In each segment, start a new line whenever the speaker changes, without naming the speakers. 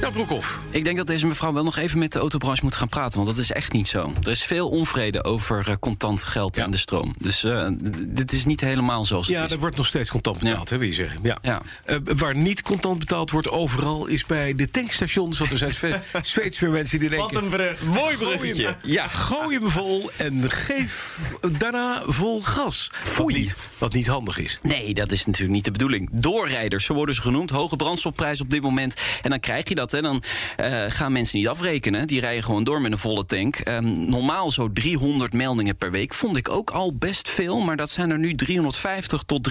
Nou, Broekhoff, ik denk dat deze mevrouw wel nog even met de autobranche moet gaan praten. Want dat is echt niet zo. Er is veel onvrede over eh, contant geld aan de stroom. Dus eh, d- dit is niet helemaal zoals
Ja,
het is.
er wordt nog steeds contant betaald, hè, wil je zeggen. Ja.
Ja.
Eh, waar niet contant betaald wordt overal, is bij de tankstations. Want er zijn sve- steeds meer mensen die denken... Mooi bruggetje. Ja, gooi hem vol en geef daarna vol gas. Wat niet, wat niet handig is.
Nee, dat is natuurlijk niet de bedoeling. Doorrijders, zo worden ze genoemd. Hoge brandstofprijs op dit moment. En dan krijg je dat. Hè. Dan eh, gaan mensen niet afrekenen. Die rijden gewoon door met een volle tank. Ehm, normaal zo 300 meldingen per week. Vond ik ook al best veel. Maar dat zijn er nu 350 tot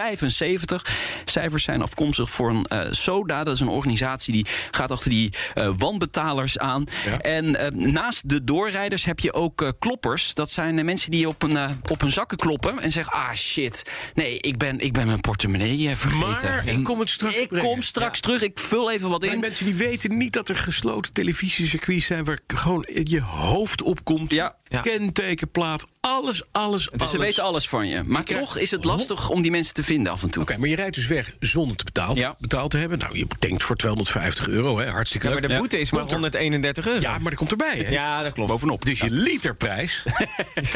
375. Cijfers zijn afkomstig voor een eh, SODA. Dat is een organisatie die gaat achter die eh, wanbetalers aan. En eh, naast de doorrijders heb je ook eh, kloppers. Dat zijn eh, mensen die op hun, eh, op hun zakken kloppen en zeggen... ah, shit, nee, ik ben, ik ben mijn portemonnee eh, vergeten.
Maar ik kom het straks
Ik kom
brengen.
straks terug, ik vul even wat
Maar
in.
mensen die weten niet dat er gesloten televisiecircuits zijn... waar gewoon je hoofd opkomt,
Ja.
kentekenplaat, alles, alles,
Dus ze weten alles van je. Maar
krijgt-
toch is het lastig om die mensen te vinden af en toe.
Oké, maar je rijdt dus weg zonder te betaald,
Ja.
betaald te hebben. Nou, je tankt voor 250 euro, hè? hartstikke
Ja,
leuk.
maar de boete is maar
Komt er-
131 euro.
Ja, maar dat komt erbij, hè?
Ja, dat klopt.
Bovenop. Dus je literprijs,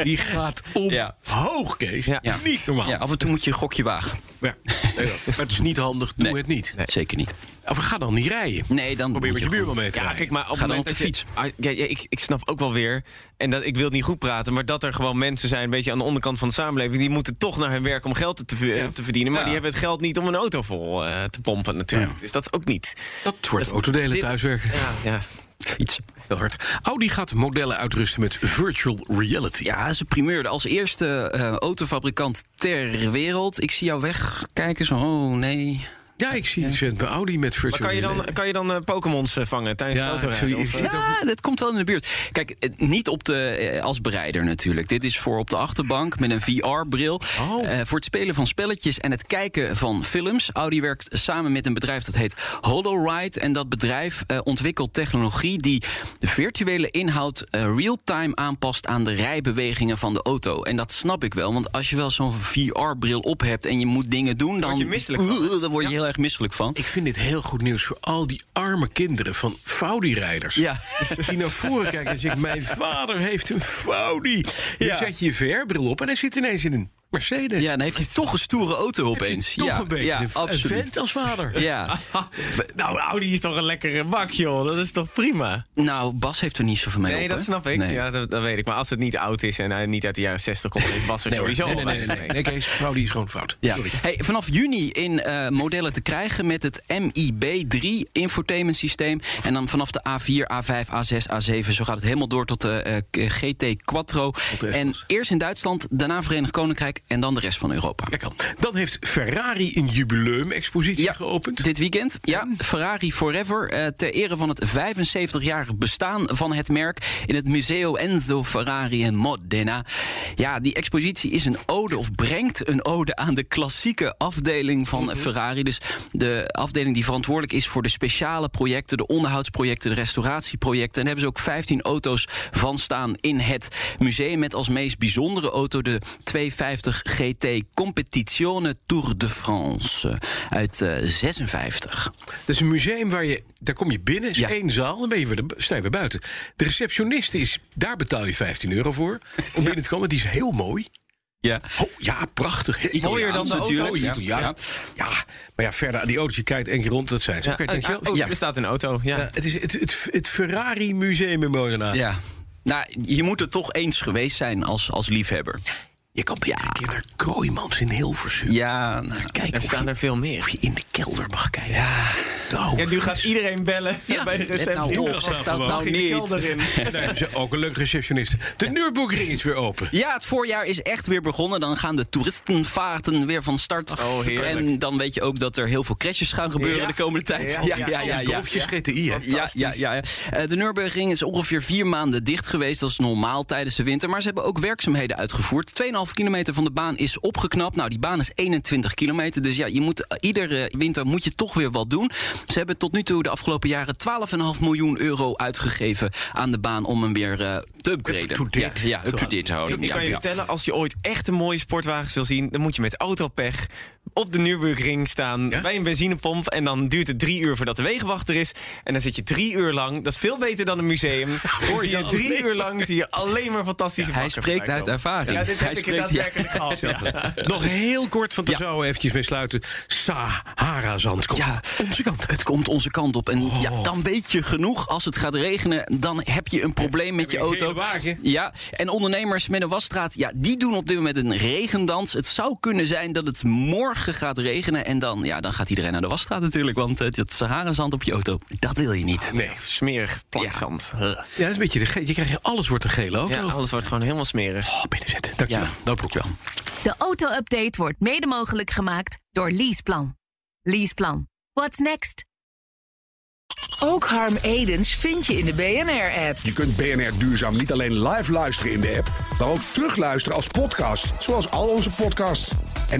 die gaat
Ja.
omhoog, Kees.
Ja.
Ja.
Niet normaal.
Ja, af en toe moet je een gokje wagen.
Ja. Nee, dat- maar het is niet handig, doe
Nee.
het niet.
Zeker niet.
Of ga dan niet rijden.
Nee, dan
Probeer
moet
met
je
je buurman
gewoon-
mee te
Ja,
rijden.
kijk, maar op het
Ga dan
moment
op de
dat je- Ah, ja, ja, ik, ik snap ook wel weer, en dat, ik wil het niet goed praten... maar dat er gewoon mensen zijn, een beetje aan de onderkant van de samenleving... die moeten toch naar hun werk om geld te, ver- te verdienen... maar
Ja.
die hebben het geld niet om een auto vol eh, te pompen natuurlijk. Dus dat is ook niet.
dat wordt autodelen
zit-
thuiswerken.
Ja, ja.
Fietsen.
Heel hard. Audi gaat modellen uitrusten met virtual reality.
Ja, ze primeurde als eerste eh, autofabrikant ter wereld. Ik zie jou wegkijken, zo, oh nee.
Ja, ik zie iets met bij Audi met virtual
Maar kan je dan,
reality.
kan je dan eh, Pokémons eh, vangen tijdens
Ja,
het
zo-
autorijden? Of, eh,
Ja, dat komt wel in de buurt. Kijk, eh, niet op de, eh, als bereider natuurlijk. Dit is voor op de achterbank met een VR-bril.
Oh.
voor het spelen van spelletjes en het kijken van films. Audi werkt samen met een bedrijf dat heet HoloRide. En dat bedrijf eh, ontwikkelt technologie die de virtuele inhoud eh, real-time aanpast aan de rijbewegingen van de auto. En dat snap ik wel, want als je wel zo'n VR-bril op hebt en je moet dingen doen, dan
Word je misselijk van,
Oeh, daar word je heel erg misselijk van.
Ik vind dit heel goed nieuws voor al die arme kinderen van Faudi-rijders.
Ja.
Die naar voren kijken en zeggen, mijn vader heeft een Faudi. Nu
Ja.
zet je je VR-bril op en hij zit ineens in een Mercedes.
Ja, dan heeft hij toch een stoere auto opeens.
Toch
ja,
een beetje
ja,
een, een
absoluut.
vent als vader.
Ja,
nou, Audi is toch een lekkere bak, joh. Dat is toch prima?
nou, Bas heeft er niet zoveel mee op.
Nee, dat
hè?
snap ik.
Nee.
Ja, dat, dat weet ik. Maar als het niet oud is en hij niet uit de jaren 60 komt... dan was er
Nee,
sowieso
nee,
al
nee, nee, nee,
bij.
nee. nee Kees, Faudi is gewoon fout.
Ja.
Sorry.
Hey, vanaf juni in eh, modellen te krijgen met het MIB3 infotainment systeem. En dan vanaf de A4, A5, A6, A7. Zo gaat het helemaal door tot de eh, k- GT Quattro.
de
En
Espels.
eerst in Duitsland, daarna Verenigd Koninkrijk en dan de rest van Europa.
Ja, kan. Dan heeft Ferrari een jubileum-expositie
Ja,
geopend.
Dit weekend, ja. Ferrari Forever. eh, ter ere van het 75-jarig bestaan van het merk. in het Museo Enzo Ferrari in Modena. Ja, die expositie is een ode, of brengt een ode aan de klassieke afdeling van Ferrari. Dus de afdeling die verantwoordelijk is voor de speciale projecten, de onderhoudsprojecten, de restauratieprojecten. En daar hebben ze ook 15 auto's van staan in het museum. Met als meest bijzondere auto de 250 GT Competizione Tour de France uit eh, 56.
Dat is een museum waar je... Daar kom je binnen, is
Ja.
één zaal, dan ben je weer de, sta je weer buiten. De receptionist is... Daar betaal je 15 euro voor om binnen te komen. Die is heel mooi.
Ja.
Oh, ja, prachtig. Heel
Mooier dan de
Italiaans
auto's.
Ja, ja. ja. maar ja, verder aan die auto's, je kijkt één keer rond, dat zijn ze. Oké,
Ah,
dankjewel.
oh,
Ja.
Er staat een auto, ja.
Ja, Eh, het is het, het, het Ferrari Museum in Modena.
Ja. Nou, je moet er toch eens geweest zijn als, als liefhebber.
Je kan beter
Ja.
een keer naar Kooimans in Hilversum.
Ja, nou,
Kijk,
Er
of
staan
je,
er veel
of
meer.
je in de kelder mag kijken.
ja.
Nou,
Ja, nu gaat iedereen bellen
Ja,
bij de
let nou
receptie.
op,
Dag
zeg dat
in de
nou
kelder
niet.
in.
daar hebben ze ook een leuke receptionist. De Nürburgring is weer open.
Ja, het voorjaar is echt weer begonnen. Dan gaan de toeristenvaarten weer van start.
Oh, heerlijk.
en dan weet je ook dat er heel veel crashes gaan gebeuren
Ja.
de komende tijd.
Ja, Oh,
Ja, ja, ja. ja,
Golfjes GTI, hè?
Ja, ja, ja. ja. Eh, De Nürburgring is ongeveer vier maanden dicht geweest. Dat is normaal tijdens de winter. Maar ze hebben ook werkzaamheden uitgevoerd. 2,5 kilometer van de baan is opgeknapt. Nou, die baan is 21 kilometer. Dus ja, je moet, eh, iedere winter moet je toch weer wat doen. Ze hebben tot nu toe de afgelopen jaren 12,5 miljoen euro uitgegeven aan de baan om hem weer eh, te upgraden.
Up-to-date.
Ja, ja, up-to-date houden.
Ik
Ja,
kan je
ja.
vertellen, als je ooit echt een mooie sportwagens wil zien... dan moet je met autopech op de Nürburgring staan
Ja?
bij een benzinepomp... en dan duurt het drie uur voordat de wegenwacht er is. En dan zit je drie uur lang, dat is veel beter dan een museum... Hoor je
dan
drie
alleen
uur lang zie je alleen maar fantastische
Hij
bakken
spreekt
voorbij
uit
komen.
ervaring.
Ja, dit
Hij
heb ik
spreekt-
daadwerkelijk gehad.
Nog heel kort, want daar
Ja.
zouden we eventjes mee sluiten. Sahara-zand komt
Ja.
onze kant.
Het komt onze kant op. En ja,
Oh.
dan weet je genoeg. Als het gaat regenen, dan heb je een probleem met je
je een
auto.
gele wagen?
Ja, en ondernemers met een wasstraat, ja, die doen op dit moment een regendans. Het zou kunnen zijn dat het morgen gaat regenen. En dan, ja, dan gaat iedereen naar de wasstraat natuurlijk. Want eh, dat Sahara-zand op je auto, dat wil je niet.
Nee.
Smerig plakzand. Ja,
Ja, dat is een beetje de ge- Je krijgt alles wordt een gele ook. Oh,
alles wordt gewoon helemaal smerig.
binnenzetten. Dankjewel.
Ja.
Dat broek wel.
De auto-update wordt mede mogelijk gemaakt door Leaseplan. Leaseplan. What's next?
Ook Harm Edens vind je in de BNR-app.
Je kunt BNR Duurzaam niet alleen live luisteren in de app, maar ook terugluisteren als podcast, zoals al onze podcasts. En